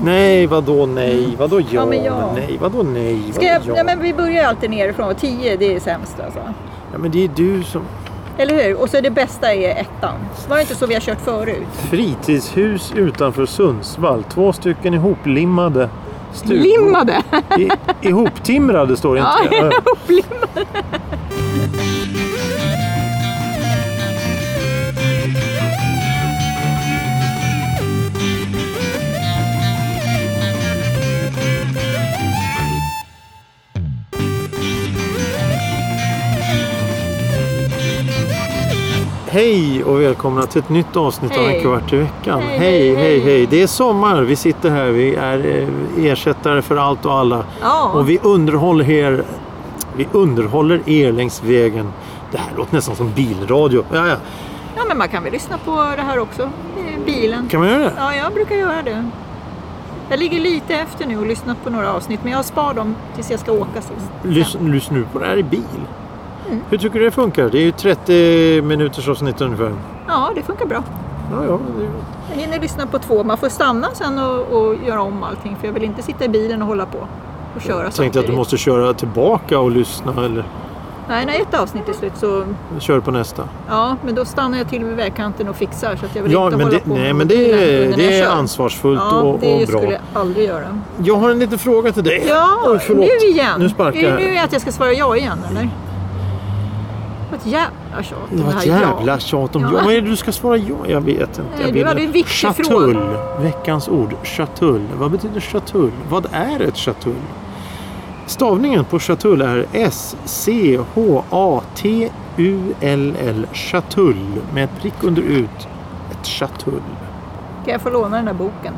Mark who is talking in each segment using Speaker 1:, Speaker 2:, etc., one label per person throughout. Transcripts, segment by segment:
Speaker 1: Nej, vadå nej? Vadå ja,
Speaker 2: Mm. Ja, men
Speaker 1: men
Speaker 2: ja.
Speaker 1: nej? Vadå nej?
Speaker 2: Ska jag,
Speaker 1: vadå
Speaker 2: ja, men vi börjar alltid nerifrån och 10 det är sämst alltså.
Speaker 1: ja, men det är du som...
Speaker 2: Eller hur? Och så det bästa är ettan. Var det inte så vi har kört förut?
Speaker 1: Fritidshus utanför Sundsvall. Två stycken ihoplimmade stugor.
Speaker 2: Limmade!
Speaker 1: I, ihoptimrade står det
Speaker 2: Ja,
Speaker 1: inte. Ja.
Speaker 2: ihoplimmade.
Speaker 1: Hej och välkomna till ett nytt avsnitt av
Speaker 2: Hej.
Speaker 1: En kvart i veckan.
Speaker 2: Hej,
Speaker 1: hej,
Speaker 2: hej,
Speaker 1: hej,
Speaker 2: hej.
Speaker 1: hej. Det är sommar. Vi sitter här. Vi är eh, ersättare för allt och alla.
Speaker 2: Ja.
Speaker 1: Och vi underhåller er, vi underhåller er längs vägen. Det här låter nästan som bilradio. Ja, ja.
Speaker 2: ja, men man kan väl lyssna på det här också. i Bilen.
Speaker 1: Kan man göra det?
Speaker 2: Ja, jag brukar göra det. Jag ligger lite efter nu och lyssnat på några avsnitt, men jag spar dem tills jag ska åka sist.
Speaker 1: Lys, lyssna nu på det här i bil.
Speaker 2: Mm.
Speaker 1: Hur tycker du det funkar? Det är ju 30 minuters avsnitt ungefär.
Speaker 2: Ja, det funkar bra.
Speaker 1: Ja, ja.
Speaker 2: Jag hinner lyssna på två. Man får stanna sen och, och göra om allting, för jag vill inte sitta i bilen och hålla på och köra
Speaker 1: Jag tänkte att du måste köra tillbaka och lyssna eller
Speaker 2: Nej, när ett avsnitt är slut så...
Speaker 1: kör på nästa.
Speaker 2: Ja, men då stannar jag till vid vägkanten och fixar så att jag vill
Speaker 1: Ja,
Speaker 2: inte
Speaker 1: men
Speaker 2: hålla
Speaker 1: det,
Speaker 2: på
Speaker 1: nej,
Speaker 2: med
Speaker 1: men det,
Speaker 2: mobilen
Speaker 1: är-
Speaker 2: när
Speaker 1: det
Speaker 2: jag
Speaker 1: är
Speaker 2: kör.
Speaker 1: ansvarsfullt
Speaker 2: Ja,
Speaker 1: och,
Speaker 2: det
Speaker 1: och bra.
Speaker 2: skulle jag aldrig göra.
Speaker 1: Jag har en liten fråga till dig.
Speaker 2: Ja,
Speaker 1: Oj, förlåt.
Speaker 2: nu igen.
Speaker 1: Nu sparkar
Speaker 2: är det
Speaker 1: jag.
Speaker 2: nu att jag ska svara ja igen, eller? Vad ett jävla tjat om
Speaker 1: Det var ett
Speaker 2: här
Speaker 1: jävla
Speaker 2: ja.
Speaker 1: tjat om
Speaker 2: Ja.
Speaker 1: ja. Vad är det du ska svara ja? Jag vet inte.
Speaker 2: Nej,
Speaker 1: Jag
Speaker 2: du
Speaker 1: vill-
Speaker 2: hade en viktig
Speaker 1: chatull.
Speaker 2: fråga.
Speaker 1: Veckans ord. Chatull. Vad betyder chatull? Vad är ett chatull? Stavningen på chatull är S-C-H-A-T-U-L-L. Chatull. Med ett prick under ut. Ett chatull.
Speaker 2: Kan jag få låna den där boken?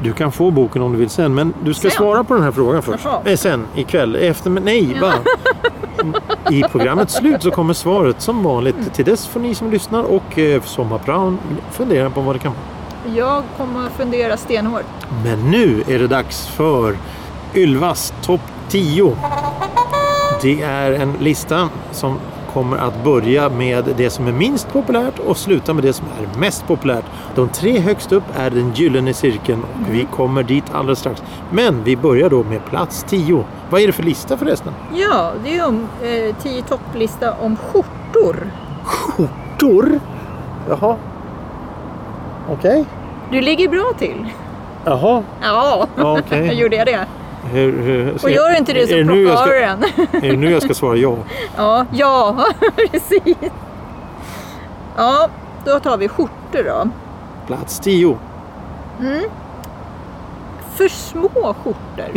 Speaker 1: Du kan få boken om du vill sen, men du ska
Speaker 2: Sen?
Speaker 1: svara på den här frågan först.
Speaker 2: Jaha.
Speaker 1: Eh, sen, ikväll. Efter, men nej, va? I programmets slut så kommer svaret som vanligt. Till dess får ni som lyssnar och eh, sommarpraon fundera på vad det kan vara.
Speaker 2: Jag kommer att fundera stenhårt.
Speaker 1: Men nu är det dags för Ylvas topp 10. Det är en lista som kommer att börja med det som är minst populärt och sluta med det som är mest populärt. De tre högst upp är den gyllene cirkeln och vi kommer dit alldeles strax. Men vi börjar då med plats 10. Vad är det för lista förresten?
Speaker 2: Ja, det är ju om eh, tio topplista om skjortor.
Speaker 1: Skjortor? Jaha. Okej.
Speaker 2: Du ligger bra till.
Speaker 1: Jaha.
Speaker 2: Ja,
Speaker 1: Ja, okej.
Speaker 2: gjorde jag det.
Speaker 1: Hur, hur, ska
Speaker 2: Och
Speaker 1: jag-
Speaker 2: gör du inte det så
Speaker 1: är nu jag
Speaker 2: plockar
Speaker 1: ska,
Speaker 2: du den.
Speaker 1: Är det nu jag ska svara ja?
Speaker 2: Ja, ja, precis. Ja, då tar vi skjortor då.
Speaker 1: Plats 10.
Speaker 2: För små skjortor.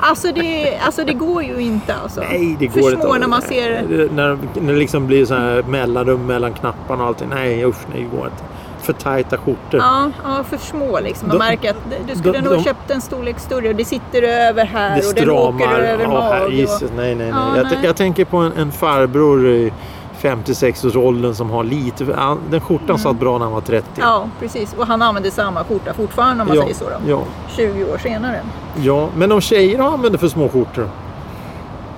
Speaker 2: Alltså det, alltså det går ju inte alltså.
Speaker 1: Nej, det
Speaker 2: för
Speaker 1: går
Speaker 2: små
Speaker 1: inte.
Speaker 2: när man ser...
Speaker 1: Nej, När, när det liksom blir så här mellanrum mellan knapparna och allting. Nej, usch, nej, det går inte. För tajta skjortor.
Speaker 2: Ja, ja, för små liksom. Man
Speaker 1: De-
Speaker 2: märker att du skulle
Speaker 1: de-
Speaker 2: nog
Speaker 1: de-
Speaker 2: köpt en storlek större. Det sitter över här
Speaker 1: det
Speaker 2: och den åker
Speaker 1: stramar.
Speaker 2: över
Speaker 1: Ja,
Speaker 2: mage.
Speaker 1: herre
Speaker 2: och-
Speaker 1: Jesus, nej, nej, nej.
Speaker 2: Ja,
Speaker 1: jag, t-
Speaker 2: nej.
Speaker 1: jag tänker på en, en farbror i 56-årsåldern som har lite... han- Den skjortan satt bra när han var 30.
Speaker 2: Mm. Ja, precis. Och han använder samma skjorta fortfarande om man
Speaker 1: ja,
Speaker 2: säger så. Då.
Speaker 1: ja,
Speaker 2: 20 år senare.
Speaker 1: ja, men om tjejer använder för små skjortor?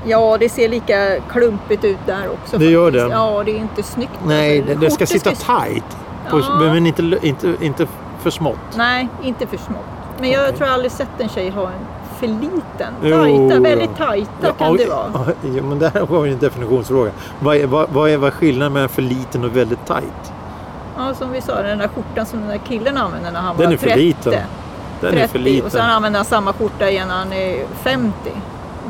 Speaker 2: Ja, det ser lika klumpigt ut där också.
Speaker 1: Det gör
Speaker 2: faktiskt.
Speaker 1: det.
Speaker 2: Ja, det är inte snyggt.
Speaker 1: Nej,
Speaker 2: Alltså,
Speaker 1: det, det ska
Speaker 2: skjortor
Speaker 1: sitta tajt. På,
Speaker 2: Ja.
Speaker 1: Men inte, lö- inte, inte för smått.
Speaker 2: Nej, inte för smått. Men jag
Speaker 1: Okej.
Speaker 2: tror jag aldrig sett en tjej ha en för liten.
Speaker 1: Jo,
Speaker 2: Tajta,
Speaker 1: då.
Speaker 2: väldigt tajta kan det vara.
Speaker 1: ja, ja, men det här var ju en definitionsfråga. Vad är, vad, vad är, vad är skillnaden mellan för liten och väldigt tajt?
Speaker 2: Ja, som vi sa, den där skjortan som den där killen använde när han
Speaker 1: Den
Speaker 2: var
Speaker 1: är för
Speaker 2: 30.
Speaker 1: liten. Den
Speaker 2: 30.
Speaker 1: är för liten.
Speaker 2: Och sen använder han samma skjorta igen när han är 50.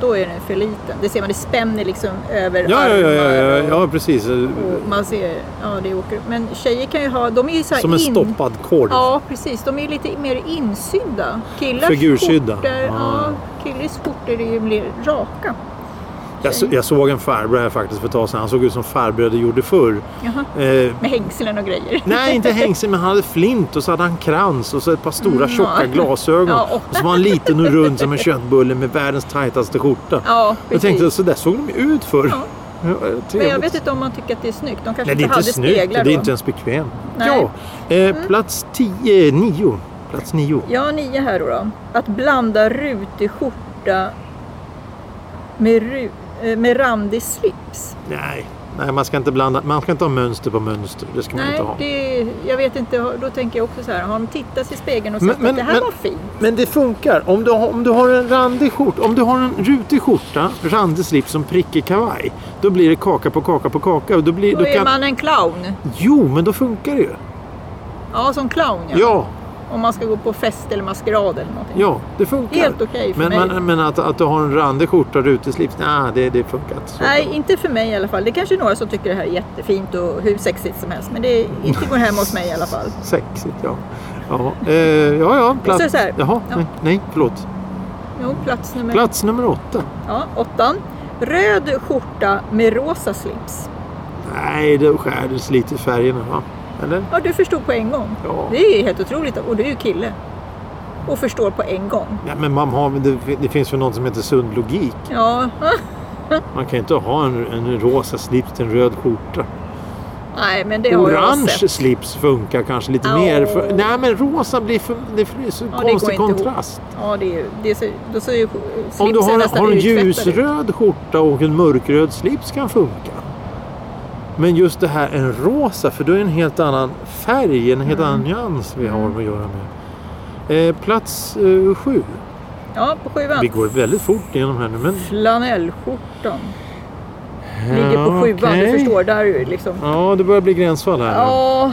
Speaker 2: Då är den för liten. Det ser man, det spänner liksom över
Speaker 1: ja, ja, ja, ja, ja,
Speaker 2: armar och-
Speaker 1: ja, precis.
Speaker 2: och man ser, ja det åker. Men tjejer kan ju ha, de är ju så här
Speaker 1: Som en
Speaker 2: in...
Speaker 1: stoppad korv.
Speaker 2: Ja, precis. De är lite mer insydda. Killars
Speaker 1: Figursydda.
Speaker 2: skjortor, ja,
Speaker 1: Ja.
Speaker 2: killars skjortor är ju mer raka.
Speaker 1: Jag, så, jag såg en farbror här faktiskt för ett tag sedan. Han såg ut som farbröder gjorde förr.
Speaker 2: Jaha.
Speaker 1: Eh,
Speaker 2: Med hängslen och grejer.
Speaker 1: nej, inte hängsel, men han hade flint och så hade han krans och så ett par stora tjocka
Speaker 2: Mm, ja.
Speaker 1: glasögon.
Speaker 2: Ja.
Speaker 1: Och så var han liten och rund som en köttbulle med världens tajtaste skjorta.
Speaker 2: Ja,
Speaker 1: jag
Speaker 2: precis.
Speaker 1: tänkte, så där såg de ju ut förr.
Speaker 2: Ja.
Speaker 1: Ja,
Speaker 2: Men jag
Speaker 1: trevligt.
Speaker 2: vet inte om man tycker att det är snyggt. De kanske
Speaker 1: Nej, det är
Speaker 2: inte
Speaker 1: inte
Speaker 2: hade
Speaker 1: snyggt. Det
Speaker 2: speglar
Speaker 1: är
Speaker 2: då.
Speaker 1: inte ens bekvämt.
Speaker 2: Nej. Mm.
Speaker 1: Ja, eh, plats 10, 9. Plats 9.
Speaker 2: Ja, nio här då, då. Att blanda rutig skjorta med, ru... eh, med randig slips.
Speaker 1: Nej, Nej, man ska inte blanda. Man ska inte ha mönster på mönster. Det ska man
Speaker 2: Nej,
Speaker 1: inte ha.
Speaker 2: det, jag vet inte. Då tänker jag också så här, har de tittat sig i spegeln och
Speaker 1: Men-
Speaker 2: sagt
Speaker 1: men-
Speaker 2: att det här
Speaker 1: men-
Speaker 2: var fint?
Speaker 1: Men det funkar. Om du, har- om du har en randig skjorta, om du har en rutig skjorta, randig slips som prickig kavaj. Då blir det kaka på kaka på kaka. Och då blir,
Speaker 2: Då
Speaker 1: då
Speaker 2: är
Speaker 1: kan...
Speaker 2: man en clown.
Speaker 1: Jo, men då funkar det ju.
Speaker 2: Ja, som clown ja.
Speaker 1: Ja,
Speaker 2: Om man ska gå på fest eller maskerad eller någonting.
Speaker 1: ja det funkar.
Speaker 2: Helt okej för
Speaker 1: men
Speaker 2: mig.
Speaker 1: men, men att, att du har en randig skjorta och rutig slips, nej, det, det funkar inte. Så.
Speaker 2: Nej, inte för mig i alla fall. Det kanske är några som tycker det här är jättefint och hur sexigt som helst. Men det är inte går hem hos mig i alla fall.
Speaker 1: Sexigt, ja. Ja, eh, ja, ja.
Speaker 2: så är det så här.
Speaker 1: Jaha,
Speaker 2: Ja.
Speaker 1: nej, nej, förlåt.
Speaker 2: Jo, plats nummer
Speaker 1: Plats nummer åtta.
Speaker 2: Ja, åttan. Röd skjorta med rosa slips.
Speaker 1: Nej, det skärdes lite i färgerna, va? Eller?
Speaker 2: Ja, du förstod på en gång.
Speaker 1: Ja.
Speaker 2: Det är ju helt otroligt. Och du är ju kille. Och förstår på en gång.
Speaker 1: Ja, men man har, det, det finns ju något som heter sund logik.
Speaker 2: Ja,
Speaker 1: Man kan ju inte ha en, en rosa slips till en röd skjorta.
Speaker 2: nej men det har jag
Speaker 1: Orange
Speaker 2: sett.
Speaker 1: slips funkar kanske lite
Speaker 2: Ja.
Speaker 1: mer. För, nej, men rosa blir för, det är så
Speaker 2: går
Speaker 1: konstig
Speaker 2: inte ihop.
Speaker 1: kontrast.
Speaker 2: Ja, det är ju, det ser, då ser ju slipsen
Speaker 1: Om du har, en-
Speaker 2: nästan
Speaker 1: har en
Speaker 2: uttvättad ut.
Speaker 1: ljusröd skjorta och en mörkröd slips kan funka. Men just det här en rosa, för då är det en helt annan färg, en helt
Speaker 2: Mm.
Speaker 1: annan nyans vi har att göra med. Eh, plats eh, sju.
Speaker 2: Ja, på sjuan.
Speaker 1: Vi går väldigt fort igenom här nu. Men...
Speaker 2: Flanellskjortan. Ligger på
Speaker 1: Ja,
Speaker 2: sjuan, du
Speaker 1: okej.
Speaker 2: förstår. Där är ju liksom...
Speaker 1: Ja, det börjar bli gränsfall här. nu.
Speaker 2: Ja,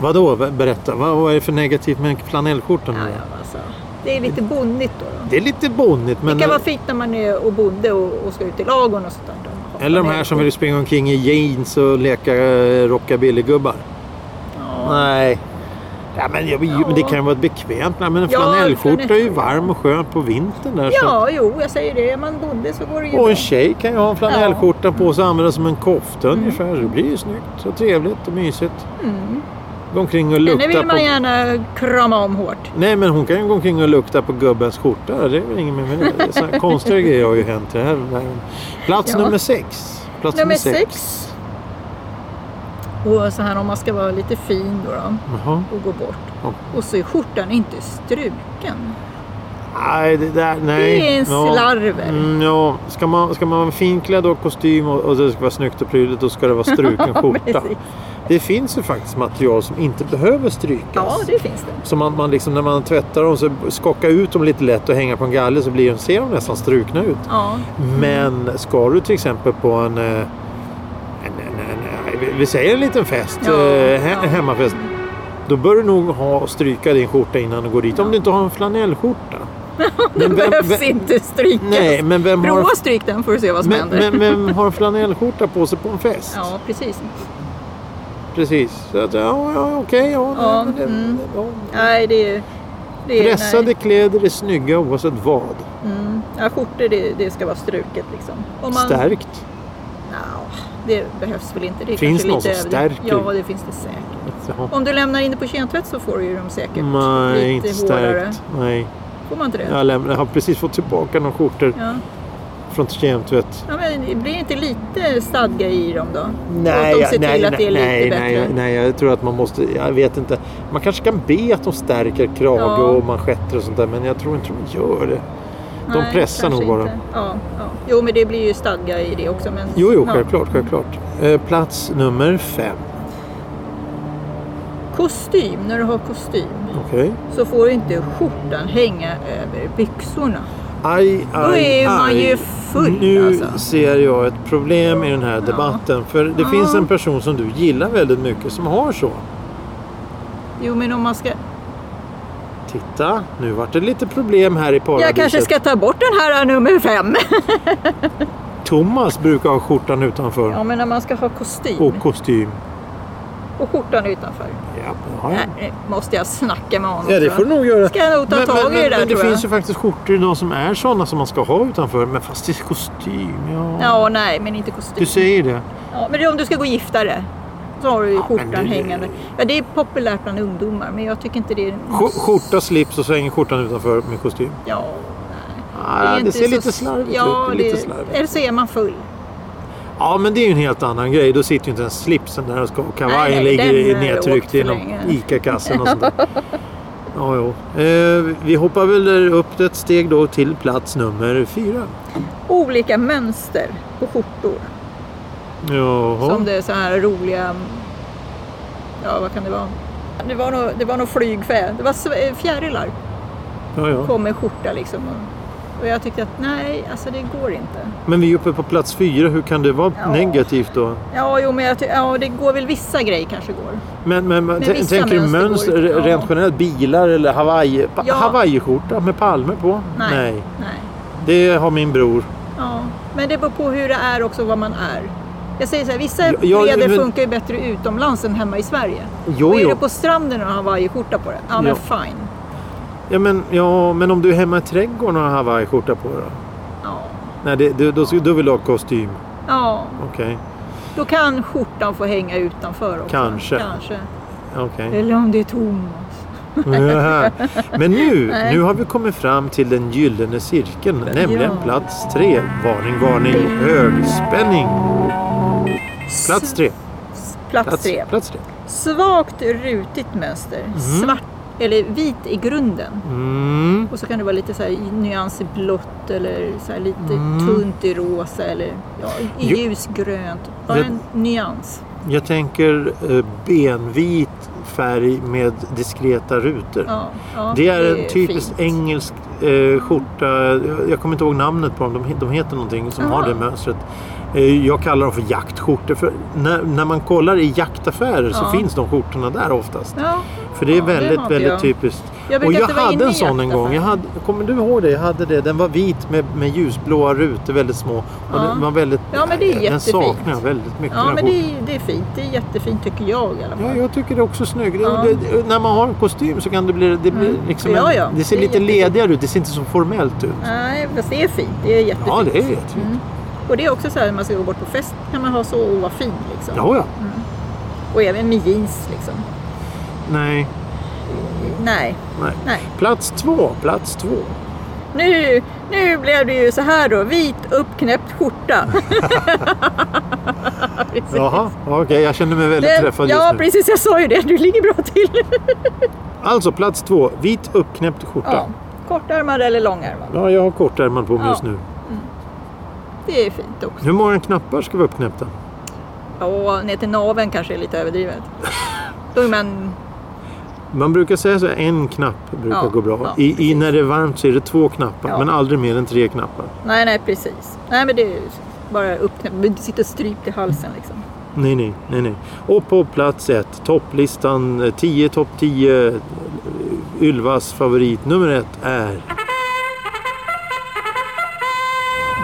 Speaker 1: Vadå? Berätta. Vad vad är det för negativt med flanellskjortan?
Speaker 2: ja, ja alltså. Det är lite bonnigt då. då.
Speaker 1: Det är lite bonnigt. Men...
Speaker 2: Det kan vara fint när man är och bonde och, och ska ut i lagorn och sånt där. då.
Speaker 1: Eller de här som vill springa omkring i jeans och leka eh, rockabillygubbar.
Speaker 2: Ja.
Speaker 1: Nej. Ja, men, jag, men det kan ju vara bekvämt. Nej, men en
Speaker 2: Ja,
Speaker 1: flanellskjorta är ju
Speaker 2: flanell-
Speaker 1: varm och skön på vintern. Där, så-
Speaker 2: ja, jo, jag säger det. Är man bonde så går det ju
Speaker 1: Och
Speaker 2: bra.
Speaker 1: en tjej kan ju ha en flanellskjorta på sig och använda som en kofta ungefär. Så det blir ju snyggt och trevligt och mysigt.
Speaker 2: Mm.
Speaker 1: Gå omkring och
Speaker 2: Henne
Speaker 1: lukta
Speaker 2: vill man
Speaker 1: på...
Speaker 2: gärna krama om hårt.
Speaker 1: Nej, men hon kan ju gå omkring och lukta på gubbens skjorta. Det är väl inget mer med det. det. är så här Konstiga grejer har ju hänt. Det här, det här. Plats
Speaker 2: Ja.
Speaker 1: nummer sex. Plats
Speaker 2: Nummer sex. Och så här om man ska vara lite fin då, då
Speaker 1: Jaha.
Speaker 2: och gå bort.
Speaker 1: Ja.
Speaker 2: Och så är skjortan inte struken.
Speaker 1: Nej, det där, nej.
Speaker 2: Det är en
Speaker 1: Ja.
Speaker 2: slarver.
Speaker 1: Mm, ja, ska man, ska man vara finklädd och kostym och, och det ska vara snyggt och prydligt då ska det vara struken skjorta.
Speaker 2: precis.
Speaker 1: det finns ju faktiskt material som inte behöver strykas.
Speaker 2: Ja, det finns det.
Speaker 1: Så man, man liksom, när man tvättar dem så skaka ut dem lite lätt och hänga på en galler så blir de, ser de nästan strukna ut.
Speaker 2: Ja,
Speaker 1: Men ska du till exempel på en, eh, en, en, en, en vi- vi säger en liten fest,
Speaker 2: Ja,
Speaker 1: eh, he,
Speaker 2: ja.
Speaker 1: hemmafest. Då bör du nog ha stryka din skjorta innan du går dit. Om du inte har en flanellskjorta. Men vem-
Speaker 2: behövs
Speaker 1: vem-
Speaker 2: inte strykas.
Speaker 1: Nej, men vem har,
Speaker 2: Prova stryk den får du se vad som
Speaker 1: men,
Speaker 2: händer.
Speaker 1: men, men har en flanellskjorta på sig på en fest?
Speaker 2: Ja, precis.
Speaker 1: Precis. Så att, ja, ja, okej. Ja, nej,
Speaker 2: Ja,
Speaker 1: men det-
Speaker 2: mm.
Speaker 1: ja.
Speaker 2: Nej, det är... Det är
Speaker 1: Pressade
Speaker 2: nej.
Speaker 1: kläder är snygga oavsett vad.
Speaker 2: Mm. Ja, skjortor det, det ska vara struket liksom. Om man...
Speaker 1: Stärkt.
Speaker 2: Nja, det behövs väl inte. Det är
Speaker 1: Finns
Speaker 2: kanske
Speaker 1: någon
Speaker 2: lite
Speaker 1: som
Speaker 2: överdrivet.
Speaker 1: stärker?
Speaker 2: Ja, det finns det säkert.
Speaker 1: Ja.
Speaker 2: Om du lämnar in det på kemtvätt så får du ju dem säkert
Speaker 1: Nej,
Speaker 2: lite
Speaker 1: inte
Speaker 2: hårdare.
Speaker 1: stärkt. Nej.
Speaker 2: Får man inte det?
Speaker 1: Jag, lämnar, jag har precis fått tillbaka några skjortor
Speaker 2: Ja.
Speaker 1: från kemtvätt.
Speaker 2: Ja, men det blir inte lite stadga i dem då?
Speaker 1: Nej,
Speaker 2: att de
Speaker 1: jag-
Speaker 2: ser
Speaker 1: nej,
Speaker 2: till att det är
Speaker 1: nej,
Speaker 2: lite
Speaker 1: nej,
Speaker 2: bättre?
Speaker 1: nej, jag tror att man måste, jag vet inte. Man kanske kan be att de stärker krage
Speaker 2: Ja.
Speaker 1: och manschetter och sånt där, men jag tror inte de gör det. de
Speaker 2: Nej,
Speaker 1: pressar
Speaker 2: kanske
Speaker 1: nog bara.
Speaker 2: inte. Ja, ja. Jo, men det blir ju stadga i det också. Men...
Speaker 1: Jo, jo,
Speaker 2: ja.
Speaker 1: självklart, självklart. Eh, plats nummer fem.
Speaker 2: Kostym, när du har kostym
Speaker 1: Okej.
Speaker 2: så får ju inte skjortan hänga över byxorna.
Speaker 1: Aj, aj,
Speaker 2: Då är man
Speaker 1: aj.
Speaker 2: ju full,
Speaker 1: Nu
Speaker 2: alltså.
Speaker 1: ser jag ett problem i den här debatten. För det
Speaker 2: Ja.
Speaker 1: finns en person som du gillar väldigt mycket som har så.
Speaker 2: Jo, men om man ska...
Speaker 1: Titta, nu vart det lite problem här i paradiset.
Speaker 2: Jag kanske ska ta bort den här äh, nummer fem.
Speaker 1: Thomas brukar ha skjortan utanför.
Speaker 2: Ja, men när man ska ha kostym
Speaker 1: Och kostym.
Speaker 2: och skjortan utanför.
Speaker 1: Ja, ja.
Speaker 2: Nej, nu måste jag snacka med honom.
Speaker 1: ja, det
Speaker 2: tror jag.
Speaker 1: får du nog göra.
Speaker 2: Ska jag nog ta
Speaker 1: men,
Speaker 2: tag
Speaker 1: men,
Speaker 2: i det där,
Speaker 1: men det
Speaker 2: tror jag.
Speaker 1: finns ju faktiskt skjortor idag som är sådana som man ska ha utanför. Men fast det är kostym, ja.
Speaker 2: Ja, nej, men inte
Speaker 1: Du
Speaker 2: kostym.
Speaker 1: säger det.
Speaker 2: Ja, men det är om du ska gå giftare. Så har du ju
Speaker 1: Ja, men
Speaker 2: skjortan
Speaker 1: det-
Speaker 2: hängande. Ja, det är populärt bland ungdomar, men jag tycker inte det är...
Speaker 1: Sk- Skjorta, slips och så hänger skjortan utanför med kostym.
Speaker 2: Ja,
Speaker 1: Ah, det,
Speaker 2: är inte
Speaker 1: ser
Speaker 2: så-
Speaker 1: lite slarvigt
Speaker 2: ja,
Speaker 1: ut. Det är lite
Speaker 2: det-
Speaker 1: slarvigt.
Speaker 2: Eller så är man full.
Speaker 1: Ja, men det är ju en helt annan grej. Då sitter ju inte ens slipsen där och ska- och kavajen
Speaker 2: Nej, nej,
Speaker 1: ligger i-
Speaker 2: den har jag åkt
Speaker 1: nedtryckt
Speaker 2: för
Speaker 1: i någon
Speaker 2: länge.
Speaker 1: ICA-kassen och sånt där. Ja, jo. Eh, vi hoppar väl upp ett steg då till plats nummer fyra.
Speaker 2: Olika mönster på skjortor.
Speaker 1: Jaha.
Speaker 2: Som det är så här roliga... Ja, vad kan det vara? Det var nog, det var nog flygfä. Det var sve- fjärilar.
Speaker 1: Ja, ja.
Speaker 2: Kom med skjorta liksom. och- Och jag tyckte att nej, alltså det går inte.
Speaker 1: Men vi är uppe på plats fyra, hur kan det vara
Speaker 2: Ja.
Speaker 1: negativt då?
Speaker 2: Ja, jo, men jag ty- ja, det går väl vissa grejer kanske går.
Speaker 1: Men, men, men t-
Speaker 2: vissa
Speaker 1: tänker du
Speaker 2: mönster går
Speaker 1: mönster,
Speaker 2: ut, ja.
Speaker 1: rent generellt, bilar eller Hawaii, pa-
Speaker 2: Ja.
Speaker 1: hawaiiskjorta med palmer på?
Speaker 2: Nej.
Speaker 1: Nej.
Speaker 2: Nej.
Speaker 1: Det har min bror.
Speaker 2: Ja. Men det beror på hur det är också, vad man är. Jag säger så här, vissa
Speaker 1: Ja, ja,
Speaker 2: kläder
Speaker 1: men-
Speaker 2: funkar ju bättre utomlands än hemma i Sverige.
Speaker 1: Jo,
Speaker 2: och är
Speaker 1: jo.
Speaker 2: du på stranden och har hawaiiskjorta på dig, ja men
Speaker 1: Ja.
Speaker 2: fine.
Speaker 1: Ja, men, ja, men om du är hemma i trädgården och har hawaiiskjorta på då?
Speaker 2: Ja.
Speaker 1: Nej, det, det, då, ska- då vill du ha kostym.
Speaker 2: ja,
Speaker 1: Okej.
Speaker 2: då kan skjortan få hänga utanför också.
Speaker 1: Kanske.
Speaker 2: Kanske.
Speaker 1: okej.
Speaker 2: Eller om det är Thomas.
Speaker 1: men nu,
Speaker 2: Nej.
Speaker 1: nu har vi kommit fram till den gyllene cirkeln, nämligen
Speaker 2: Ja.
Speaker 1: plats tre. Varning, varning, högspänning. Plats tre.
Speaker 2: Plats tre.
Speaker 1: Plats tre. Mhm.
Speaker 2: Svagt rutigt mönster. Svart, eller vit i grunden.
Speaker 1: Mm.
Speaker 2: Och så kan det vara lite så här i nyans i blått eller så här lite
Speaker 1: Mm.
Speaker 2: tunt i rosa eller ja, i
Speaker 1: Jo.
Speaker 2: ljusgrönt. Bara
Speaker 1: Jag-
Speaker 2: en nyans.
Speaker 1: Jag tänker eh, benvit färg med diskreta rutor.
Speaker 2: Ja, ja,
Speaker 1: Det är en typisk
Speaker 2: fint.
Speaker 1: engelsk eh, skjorta. Jag- Jag kommer inte ihåg namnet på dem. De, he- de heter någonting som har
Speaker 2: Aha.
Speaker 1: det mönstret. Eh, jag kallar dem för jaktskjortor. För när, när man kollar i jaktaffärer så
Speaker 2: Ja.
Speaker 1: finns de skjortorna där oftast.
Speaker 2: Ja.
Speaker 1: För det är
Speaker 2: Ja, det
Speaker 1: väldigt,
Speaker 2: har inte
Speaker 1: väldigt
Speaker 2: jag.
Speaker 1: typiskt.
Speaker 2: Jag brukar
Speaker 1: och jag
Speaker 2: inte vara
Speaker 1: hade
Speaker 2: inne
Speaker 1: en
Speaker 2: i
Speaker 1: sån en gång.
Speaker 2: jaktaffärer.
Speaker 1: Jag hade, kommer du ihåg det? Jag hade det. Den var vit med, med ljusblåa rutor, väldigt små. Och
Speaker 2: Ja.
Speaker 1: den var väldigt...
Speaker 2: Ja, men det är
Speaker 1: Den
Speaker 2: jättefint.
Speaker 1: saknar jag väldigt mycket.
Speaker 2: Ja,
Speaker 1: den
Speaker 2: men
Speaker 1: skjortan.
Speaker 2: det är, det är fint. Det är jättefint tycker jag i alla
Speaker 1: Ja,
Speaker 2: fall.
Speaker 1: jag tycker det är också snyggt. Det-
Speaker 2: Ja.
Speaker 1: det- När man har en kostym så kan det bli... Det, blir
Speaker 2: Mm.
Speaker 1: liksom
Speaker 2: Ja,
Speaker 1: en,
Speaker 2: ja.
Speaker 1: det ser
Speaker 2: Det är
Speaker 1: lite
Speaker 2: jättefint.
Speaker 1: ledigare ut. Det ser inte så formellt ut.
Speaker 2: Nej, fast det är fint. Det är jättefint.
Speaker 1: Ja, det är jättefint.
Speaker 2: Mm. Och det är också så här när man ska gå bort på fest kan man ha så och vara fin liksom.
Speaker 1: Ja, ja.
Speaker 2: Och även med jeans liksom.
Speaker 1: Nej.
Speaker 2: Nej,
Speaker 1: Nej.
Speaker 2: nej.
Speaker 1: Plats två, plats två.
Speaker 2: Nu, nu blev det ju så här då. Vit uppknäppt skjorta. Precis.
Speaker 1: Jaha, okej. jag känner mig väldigt
Speaker 2: Den-
Speaker 1: träffad
Speaker 2: ja,
Speaker 1: just nu.
Speaker 2: precis. Jag sa ju det. Du ligger bra till.
Speaker 1: Alltså plats två, vit uppknäppt skjorta.
Speaker 2: Ja.
Speaker 1: Ja,
Speaker 2: Kortärmad eller långärmad.
Speaker 1: jag har kortärmad på mig
Speaker 2: Ja.
Speaker 1: just nu.
Speaker 2: Det är fint också.
Speaker 1: Hur många knappar ska vara uppknäppta?
Speaker 2: Och ner till naveln kanske är lite överdrivet. Då är man...
Speaker 1: Man brukar säga så här, en knapp brukar
Speaker 2: Ja,
Speaker 1: gå bra.
Speaker 2: ja,
Speaker 1: I, I, när det är varmt så är det två knappar,
Speaker 2: Ja.
Speaker 1: men aldrig mer än tre knappar.
Speaker 2: Nej, nej, precis. Nej, men det är ju bara uppknäppt. Men Du sitter strypt i halsen liksom.
Speaker 1: Nej, nej, nej, nej. Och på plats ett, topplistan, eh, 10 topp 10, eh, Ylvas favorit nummer ett är...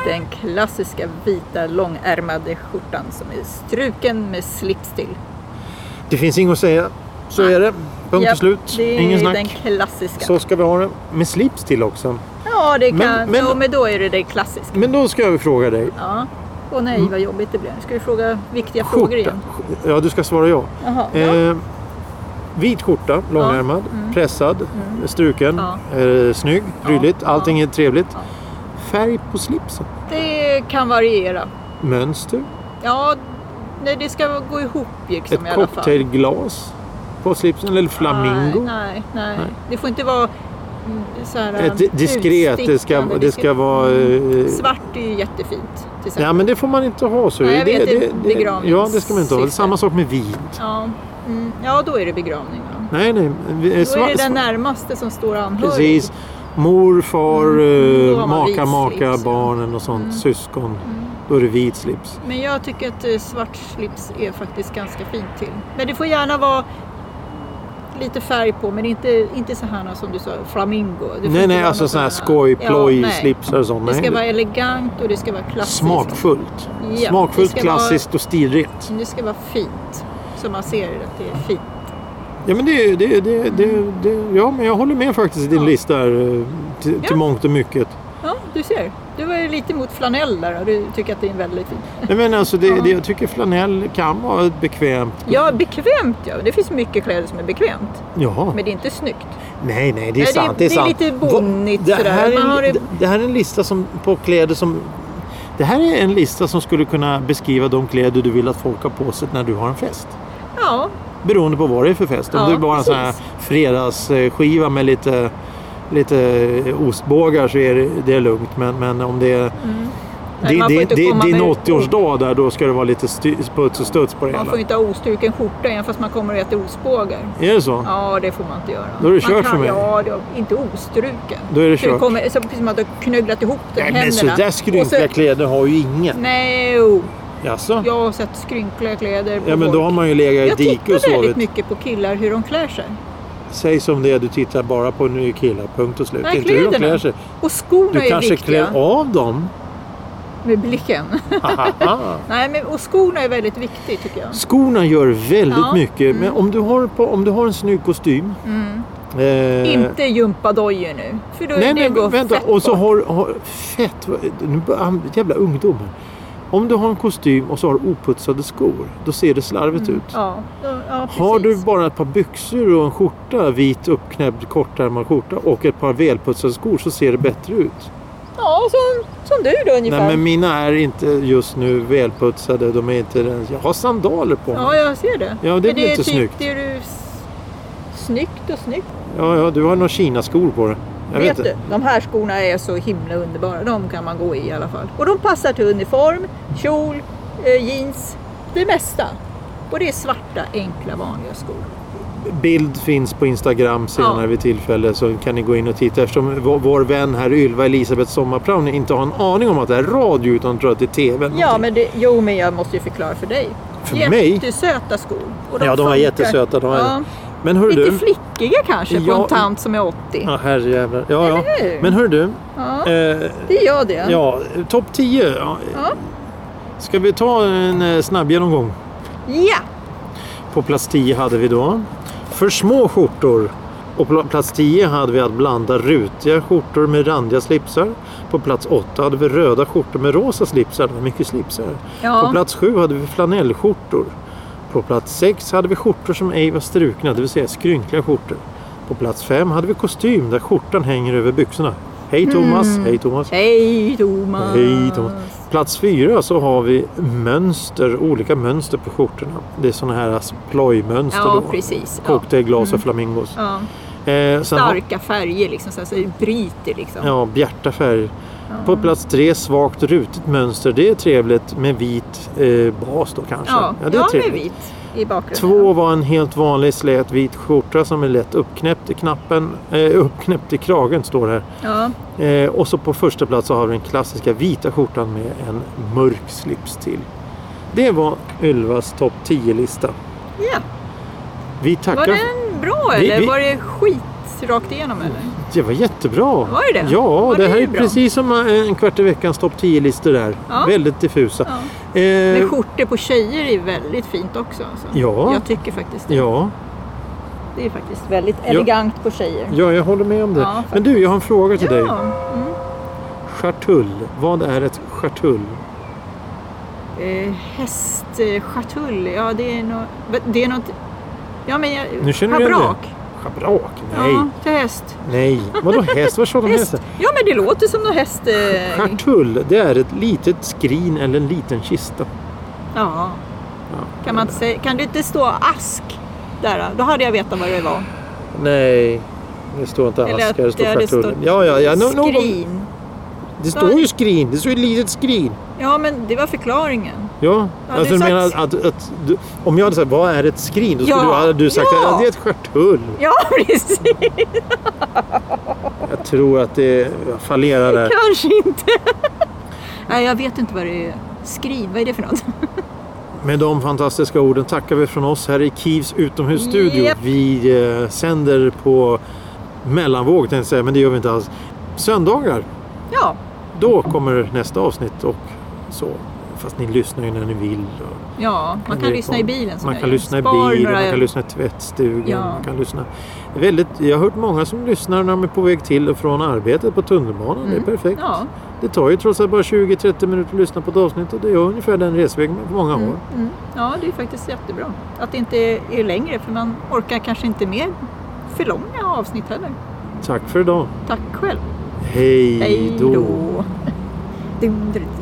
Speaker 2: Den klassiska vita långärmade skjortan som är struken med slips till.
Speaker 1: Det finns inget att säga. Så är det. Punkt
Speaker 2: Japp,
Speaker 1: och slut.
Speaker 2: Det är
Speaker 1: Ingen snack.
Speaker 2: den klassiska.
Speaker 1: Så ska vi ha det. Med slips till också.
Speaker 2: Ja, det kan...
Speaker 1: Men-
Speaker 2: Men,
Speaker 1: men- Mm.
Speaker 2: jo, men då är det det klassiska.
Speaker 1: Men då ska jag fråga dig.
Speaker 2: Ja. Åh nej,
Speaker 1: Mm.
Speaker 2: vad jobbigt det blev. Ska du fråga viktiga frågor igen?
Speaker 1: Ja, du ska svara ja.
Speaker 2: Jaha, ja. Mm.
Speaker 1: Eh, vit skjorta, långärmad, pressad, struken,
Speaker 2: Ja.
Speaker 1: eh, snygg, prydligt. Allting är trevligt.
Speaker 2: Ja.
Speaker 1: Färg på slipsen.
Speaker 2: Det kan variera.
Speaker 1: Mönster.
Speaker 2: Ja, nej, det ska gå ihop liksom i
Speaker 1: Ett
Speaker 2: alla fall.
Speaker 1: cocktailglas på slipsen. Eller flamingo.
Speaker 2: Nej, nej, nej.
Speaker 1: Nej.
Speaker 2: Det får inte vara mm, så här...
Speaker 1: Ett di- diskret. Det ska,
Speaker 2: utstickande. Mm.
Speaker 1: det ska vara... eh,
Speaker 2: Svart är ju jättefint. Till exempel.
Speaker 1: Ja men det får man inte ha så.
Speaker 2: Nej, jag vet, det är
Speaker 1: ja det ska man inte ha.
Speaker 2: begravningssyfte.
Speaker 1: Samma sak med vit.
Speaker 2: Ja, mm, ja, då är det begravning. Va?
Speaker 1: Nej nej. vi-
Speaker 2: Då
Speaker 1: sva-
Speaker 2: är det
Speaker 1: sva-
Speaker 2: den närmaste som står anhörig.
Speaker 1: Precis. Mor, far, eh,
Speaker 2: Mm. då har man
Speaker 1: maka,
Speaker 2: vit
Speaker 1: maka,
Speaker 2: slips, ja. Mm.
Speaker 1: barnen och sånt. Syskon. Då är det vit slips.
Speaker 2: Men jag tycker att eh, svart slips är faktiskt ganska fint till. Men det får gärna vara lite färg på, men inte, inte så här som du sa, flamingo. Det
Speaker 1: Nej
Speaker 2: får inte
Speaker 1: nej
Speaker 2: vara
Speaker 1: alltså
Speaker 2: något
Speaker 1: sådana här
Speaker 2: sådana-
Speaker 1: skoj, ploj,
Speaker 2: Ja, nej.
Speaker 1: slipsar och sånt.
Speaker 2: Det ska
Speaker 1: Nej,
Speaker 2: vara elegant och det ska vara klassiskt.
Speaker 1: Smakfullt.
Speaker 2: Ja,
Speaker 1: Smakfullt,
Speaker 2: det ska vara-
Speaker 1: klassiskt och stilrent.
Speaker 2: Det ska vara fint. Så man ser att det är fint.
Speaker 1: Ja men det, det, det, det, det ja men jag håller med faktiskt i din
Speaker 2: Ja.
Speaker 1: lista här, eh, till, till
Speaker 2: Ja.
Speaker 1: mångt och mycket.
Speaker 2: Ja, du ser. Du var ju lite emot flanell där och du tycker att det är väldigt fint.
Speaker 1: Nej, men alltså det, det, jag tycker flanell kan vara ett bekvämt.
Speaker 2: Ja, bekvämt ja. Det finns mycket kläder som är bekvämt.
Speaker 1: Jaha.
Speaker 2: Men det är inte snyggt.
Speaker 1: Nej, nej, det är
Speaker 2: Nej, det är-
Speaker 1: sant.
Speaker 2: det är
Speaker 1: sant.
Speaker 2: lite bonnigt
Speaker 1: det
Speaker 2: sådär.
Speaker 1: här, är,
Speaker 2: Man har
Speaker 1: en-
Speaker 2: det-
Speaker 1: det... här är en lista som, på kläder som... Det här är en lista som skulle kunna beskriva de kläder du vill att folk har på sig när du har en fest.
Speaker 2: Ja,
Speaker 1: Beroende på vad det är för fest. Om
Speaker 2: Ja,
Speaker 1: det är bara en sån här
Speaker 2: precis.
Speaker 1: fredagsskiva med lite, lite ostbågar så är det, det är lugnt. Men, men om det är
Speaker 2: Mm. Nej,
Speaker 1: det,
Speaker 2: man får
Speaker 1: det,
Speaker 2: inte
Speaker 1: det,
Speaker 2: komma
Speaker 1: det är en
Speaker 2: med-
Speaker 1: 80-årsdag där, då ska det vara lite sty- puts och studs på det
Speaker 2: Man
Speaker 1: hela.
Speaker 2: får ju inte ha ostruken skjorta igen fast man kommer och äter ostbågar.
Speaker 1: Är det så?
Speaker 2: Ja, det får man inte göra.
Speaker 1: Då är det
Speaker 2: Man
Speaker 1: kört
Speaker 2: kan-
Speaker 1: för mig.
Speaker 2: Ja, det, inte ostruken.
Speaker 1: Då är det kört.
Speaker 2: Kommer, så precis som att du har knögglat ihop den,
Speaker 1: Nej,
Speaker 2: händerna.
Speaker 1: men sådär skrynkliga
Speaker 2: Och så-
Speaker 1: kläder har ju ingen.
Speaker 2: Nej, jo.
Speaker 1: Jaså?
Speaker 2: jag har sett skrynkliga kläder på
Speaker 1: Ja, men då
Speaker 2: folk.
Speaker 1: har man ju legat
Speaker 2: Jag
Speaker 1: i dike och
Speaker 2: tittar väldigt
Speaker 1: sovit.
Speaker 2: mycket på killar hur de klär sig.
Speaker 1: Säg som det är, du tittar bara på nya killar, punkt och slut.
Speaker 2: Nej,
Speaker 1: inte hur de
Speaker 2: kläderna.
Speaker 1: klär sig.
Speaker 2: Och skorna
Speaker 1: Du
Speaker 2: är
Speaker 1: kanske
Speaker 2: viktiga
Speaker 1: klär av dem.
Speaker 2: med blicken.
Speaker 1: Hahaha.
Speaker 2: Nej, men, och skorna är väldigt viktigt tycker jag.
Speaker 1: Skorna gör väldigt
Speaker 2: Ja, Mm.
Speaker 1: mycket. Men om du har, på, om du har en snygg kostym. eh,
Speaker 2: Inte gympadojor nu, för då
Speaker 1: Nej,
Speaker 2: är
Speaker 1: nej,
Speaker 2: det går
Speaker 1: vänta.
Speaker 2: fett
Speaker 1: Och så
Speaker 2: bort.
Speaker 1: har, har fett... vad- Nu börjar han- jävla ungdomar. Om du har en kostym och så har du oputsade skor, då ser det slarvigt ut.
Speaker 2: Mm. Ja, då- ja, precis.
Speaker 1: Har du bara ett par byxor och en skjorta, vit uppknäppt kortärmad skjorta och ett par välputsade skor så ser det bättre ut.
Speaker 2: Ja, som, som du då ungefär.
Speaker 1: Nej men mina är inte just nu välputsade. De är inte ens... Jag har sandaler på mig.
Speaker 2: Ja, jag ser det.
Speaker 1: Ja, det
Speaker 2: Men
Speaker 1: blir
Speaker 2: är
Speaker 1: inte
Speaker 2: typ,
Speaker 1: snyggt.
Speaker 2: Det är du... s- Snyggt och snyggt.
Speaker 1: Ja, ja, du har några Kina-skor på dig. Jag
Speaker 2: vet
Speaker 1: vet,
Speaker 2: du,
Speaker 1: inte.
Speaker 2: de här skorna är så himla underbara. De kan man gå i i alla fall. Och de passar till uniform, kjol, eh, jeans, det mesta. Och det är svarta, enkla, vanliga skor.
Speaker 1: Bild finns på Instagram senare
Speaker 2: Ja.
Speaker 1: vid tillfälle så kan ni gå in och titta. Eftersom vår, vår vän här Ylva Elisabeth Sommarplan inte har en aning om att det är radio utan tror att det är TV. eller
Speaker 2: Ja,
Speaker 1: någonting.
Speaker 2: men det, jo, men jag måste ju förklara för dig.
Speaker 1: För mig?
Speaker 2: Jättesöta skor. Och
Speaker 1: ja, de var
Speaker 2: funkar.
Speaker 1: jättesöta. De här.
Speaker 2: Ja.
Speaker 1: Men hör
Speaker 2: Lite
Speaker 1: du.
Speaker 2: flickiga kanske på
Speaker 1: Ja.
Speaker 2: en tant som är 80.
Speaker 1: Ja, herrejävlar. Ja, ja.
Speaker 2: Eller hur?
Speaker 1: Men hör du.
Speaker 2: Ja,
Speaker 1: Eh,
Speaker 2: det gör det.
Speaker 1: ja, topp 10. Ja.
Speaker 2: Ja.
Speaker 1: Ska vi ta en eh, snabb genomgång?
Speaker 2: ja.
Speaker 1: På plats 10 hade vi då för små skjortor. Och på plats 10 hade vi att blanda rutiga skjortor med randiga slipsar. På plats 8 hade vi röda skjortor med rosa slipsar. Det var mycket slipsar.
Speaker 2: Ja.
Speaker 1: På plats 7 hade vi flanellskjortor. På plats 6 hade vi skjortor som ej var strukna, det vill säga skrynkliga skjortor. På plats 5 hade vi kostym där skjortan hänger över byxorna. Hej
Speaker 2: Mm.
Speaker 1: Thomas! Hej Thomas!
Speaker 2: Hej Thomas!
Speaker 1: Hej Thomas. Plats fyra så har vi mönster, olika mönster på skjortorna. Det är sådana här plojmönster
Speaker 2: Ja,
Speaker 1: då.
Speaker 2: precis. Ja.
Speaker 1: Cocktailglas
Speaker 2: Mm.
Speaker 1: och flamingos.
Speaker 2: Ja.
Speaker 1: Eh, sen har-
Speaker 2: Starka färger liksom, så att det bryter liksom.
Speaker 1: Ja, bjärta färger. På plats tre, svagt rutigt mönster. Det är trevligt med vit eh, bas då kanske.
Speaker 2: ja.
Speaker 1: det är
Speaker 2: ja med
Speaker 1: trevligt.
Speaker 2: vit i bakgrunden.
Speaker 1: Två var en helt vanlig slät vit skjorta som är lätt uppknäppt i knappen. Eh, uppknäppt i kragen står det här.
Speaker 2: Ja.
Speaker 1: Eh, och så på första plats så har vi den klassiska vita skjortan med en mörk slips till. Det var Ylvas topp 10-lista.
Speaker 2: ja.
Speaker 1: Vi
Speaker 2: Var
Speaker 1: tackar.
Speaker 2: den bra
Speaker 1: Vi-
Speaker 2: eller
Speaker 1: vi-
Speaker 2: var det skit rakt igenom eller?
Speaker 1: Det var jättebra.
Speaker 2: Var det det?
Speaker 1: Ja,
Speaker 2: Ja,
Speaker 1: det
Speaker 2: det
Speaker 1: här
Speaker 2: är
Speaker 1: är
Speaker 2: ju bra.
Speaker 1: precis som eh, en kvart i veckans topp 10-listor där.
Speaker 2: Ja.
Speaker 1: Väldigt diffusa.
Speaker 2: Ja.
Speaker 1: Eh,
Speaker 2: Men skjortor på tjejer är väldigt fint också. Alltså.
Speaker 1: Ja.
Speaker 2: Jag tycker faktiskt det.
Speaker 1: ja,
Speaker 2: Det är faktiskt väldigt elegant på tjejer.
Speaker 1: ja, jag håller med om det.
Speaker 2: Ja, faktiskt.
Speaker 1: Men du, jag har en fråga till dig.
Speaker 2: Ja.
Speaker 1: Stjärtull, vad är ett stjärtull?
Speaker 2: Eh, Hästschatull, ja det är något... Det är något ja, men jag,
Speaker 1: Nu känner du igen
Speaker 2: Habrak.
Speaker 1: Schabrak? Nej,
Speaker 2: Ja, till häst.
Speaker 1: nej. Vadå häst? Vad tjatar de om
Speaker 2: häst.
Speaker 1: hästen?
Speaker 2: Ja, men det låter som någon häst... eh,
Speaker 1: Stjärtull, det är ett litet skrin eller en liten kista.
Speaker 2: Ja.
Speaker 1: Ja.
Speaker 2: Kan, man inte säga, kan du inte stå ask där? Då hade jag vetat vad det var.
Speaker 1: Nej, det står inte
Speaker 2: Eller att
Speaker 1: askar, det står
Speaker 2: det hade stått
Speaker 1: stjärtull. Ja, ja, ja. nå- någon-
Speaker 2: skrin.
Speaker 1: Det står ju skrin, det står ju ett litet skrin.
Speaker 2: Ja, men det var förklaringen.
Speaker 1: Ja,
Speaker 2: Ja,
Speaker 1: alltså du
Speaker 2: du sagt-
Speaker 1: menar att, att, att du, om jag hade sagt vad är ett skrin? Då skulle du,
Speaker 2: Ja,
Speaker 1: hade du sagt
Speaker 2: ja.
Speaker 1: att det är ett stjärtull.
Speaker 2: Ja, precis.
Speaker 1: Jag tror att det fallerar där.
Speaker 2: Kanske inte. Nej, jag vet inte vad det är. Skrin, vad är det för något?
Speaker 1: Med de fantastiska orden tackar vi från oss här i Kivs utomhusstudio.
Speaker 2: Japp.
Speaker 1: Vi eh, sänder på mellanvåg tänkte jag säga, men det gör vi inte alls. Söndagar,
Speaker 2: Ja,
Speaker 1: då kommer nästa avsnitt och så. Fast ni lyssnar ju när ni vill.
Speaker 2: ja man kan
Speaker 1: Det
Speaker 2: lyssna i bilen. som
Speaker 1: Man
Speaker 2: jag
Speaker 1: kan
Speaker 2: gör.
Speaker 1: lyssna i
Speaker 2: Spar
Speaker 1: bilen,
Speaker 2: några-
Speaker 1: man kan lyssna i tvättstugan.
Speaker 2: Ja.
Speaker 1: Man kan lyssna. Väldigt, jag har hört många som lyssnar när de är på väg till och från arbetet på tunnelbanan. Det är
Speaker 2: Mm.
Speaker 1: perfekt.
Speaker 2: Ja.
Speaker 1: Det tar ju trots allt bara 20-30 minuter att lyssna på ett avsnitt och det är ungefär den resväg många har.
Speaker 2: Mm, mm. Ja, det är faktiskt jättebra. Att det inte är längre, för man orkar kanske inte med för långa avsnitt heller.
Speaker 1: Tack för idag.
Speaker 2: Tack själv.
Speaker 1: Hej
Speaker 2: Hej då. Dum, dum, dum.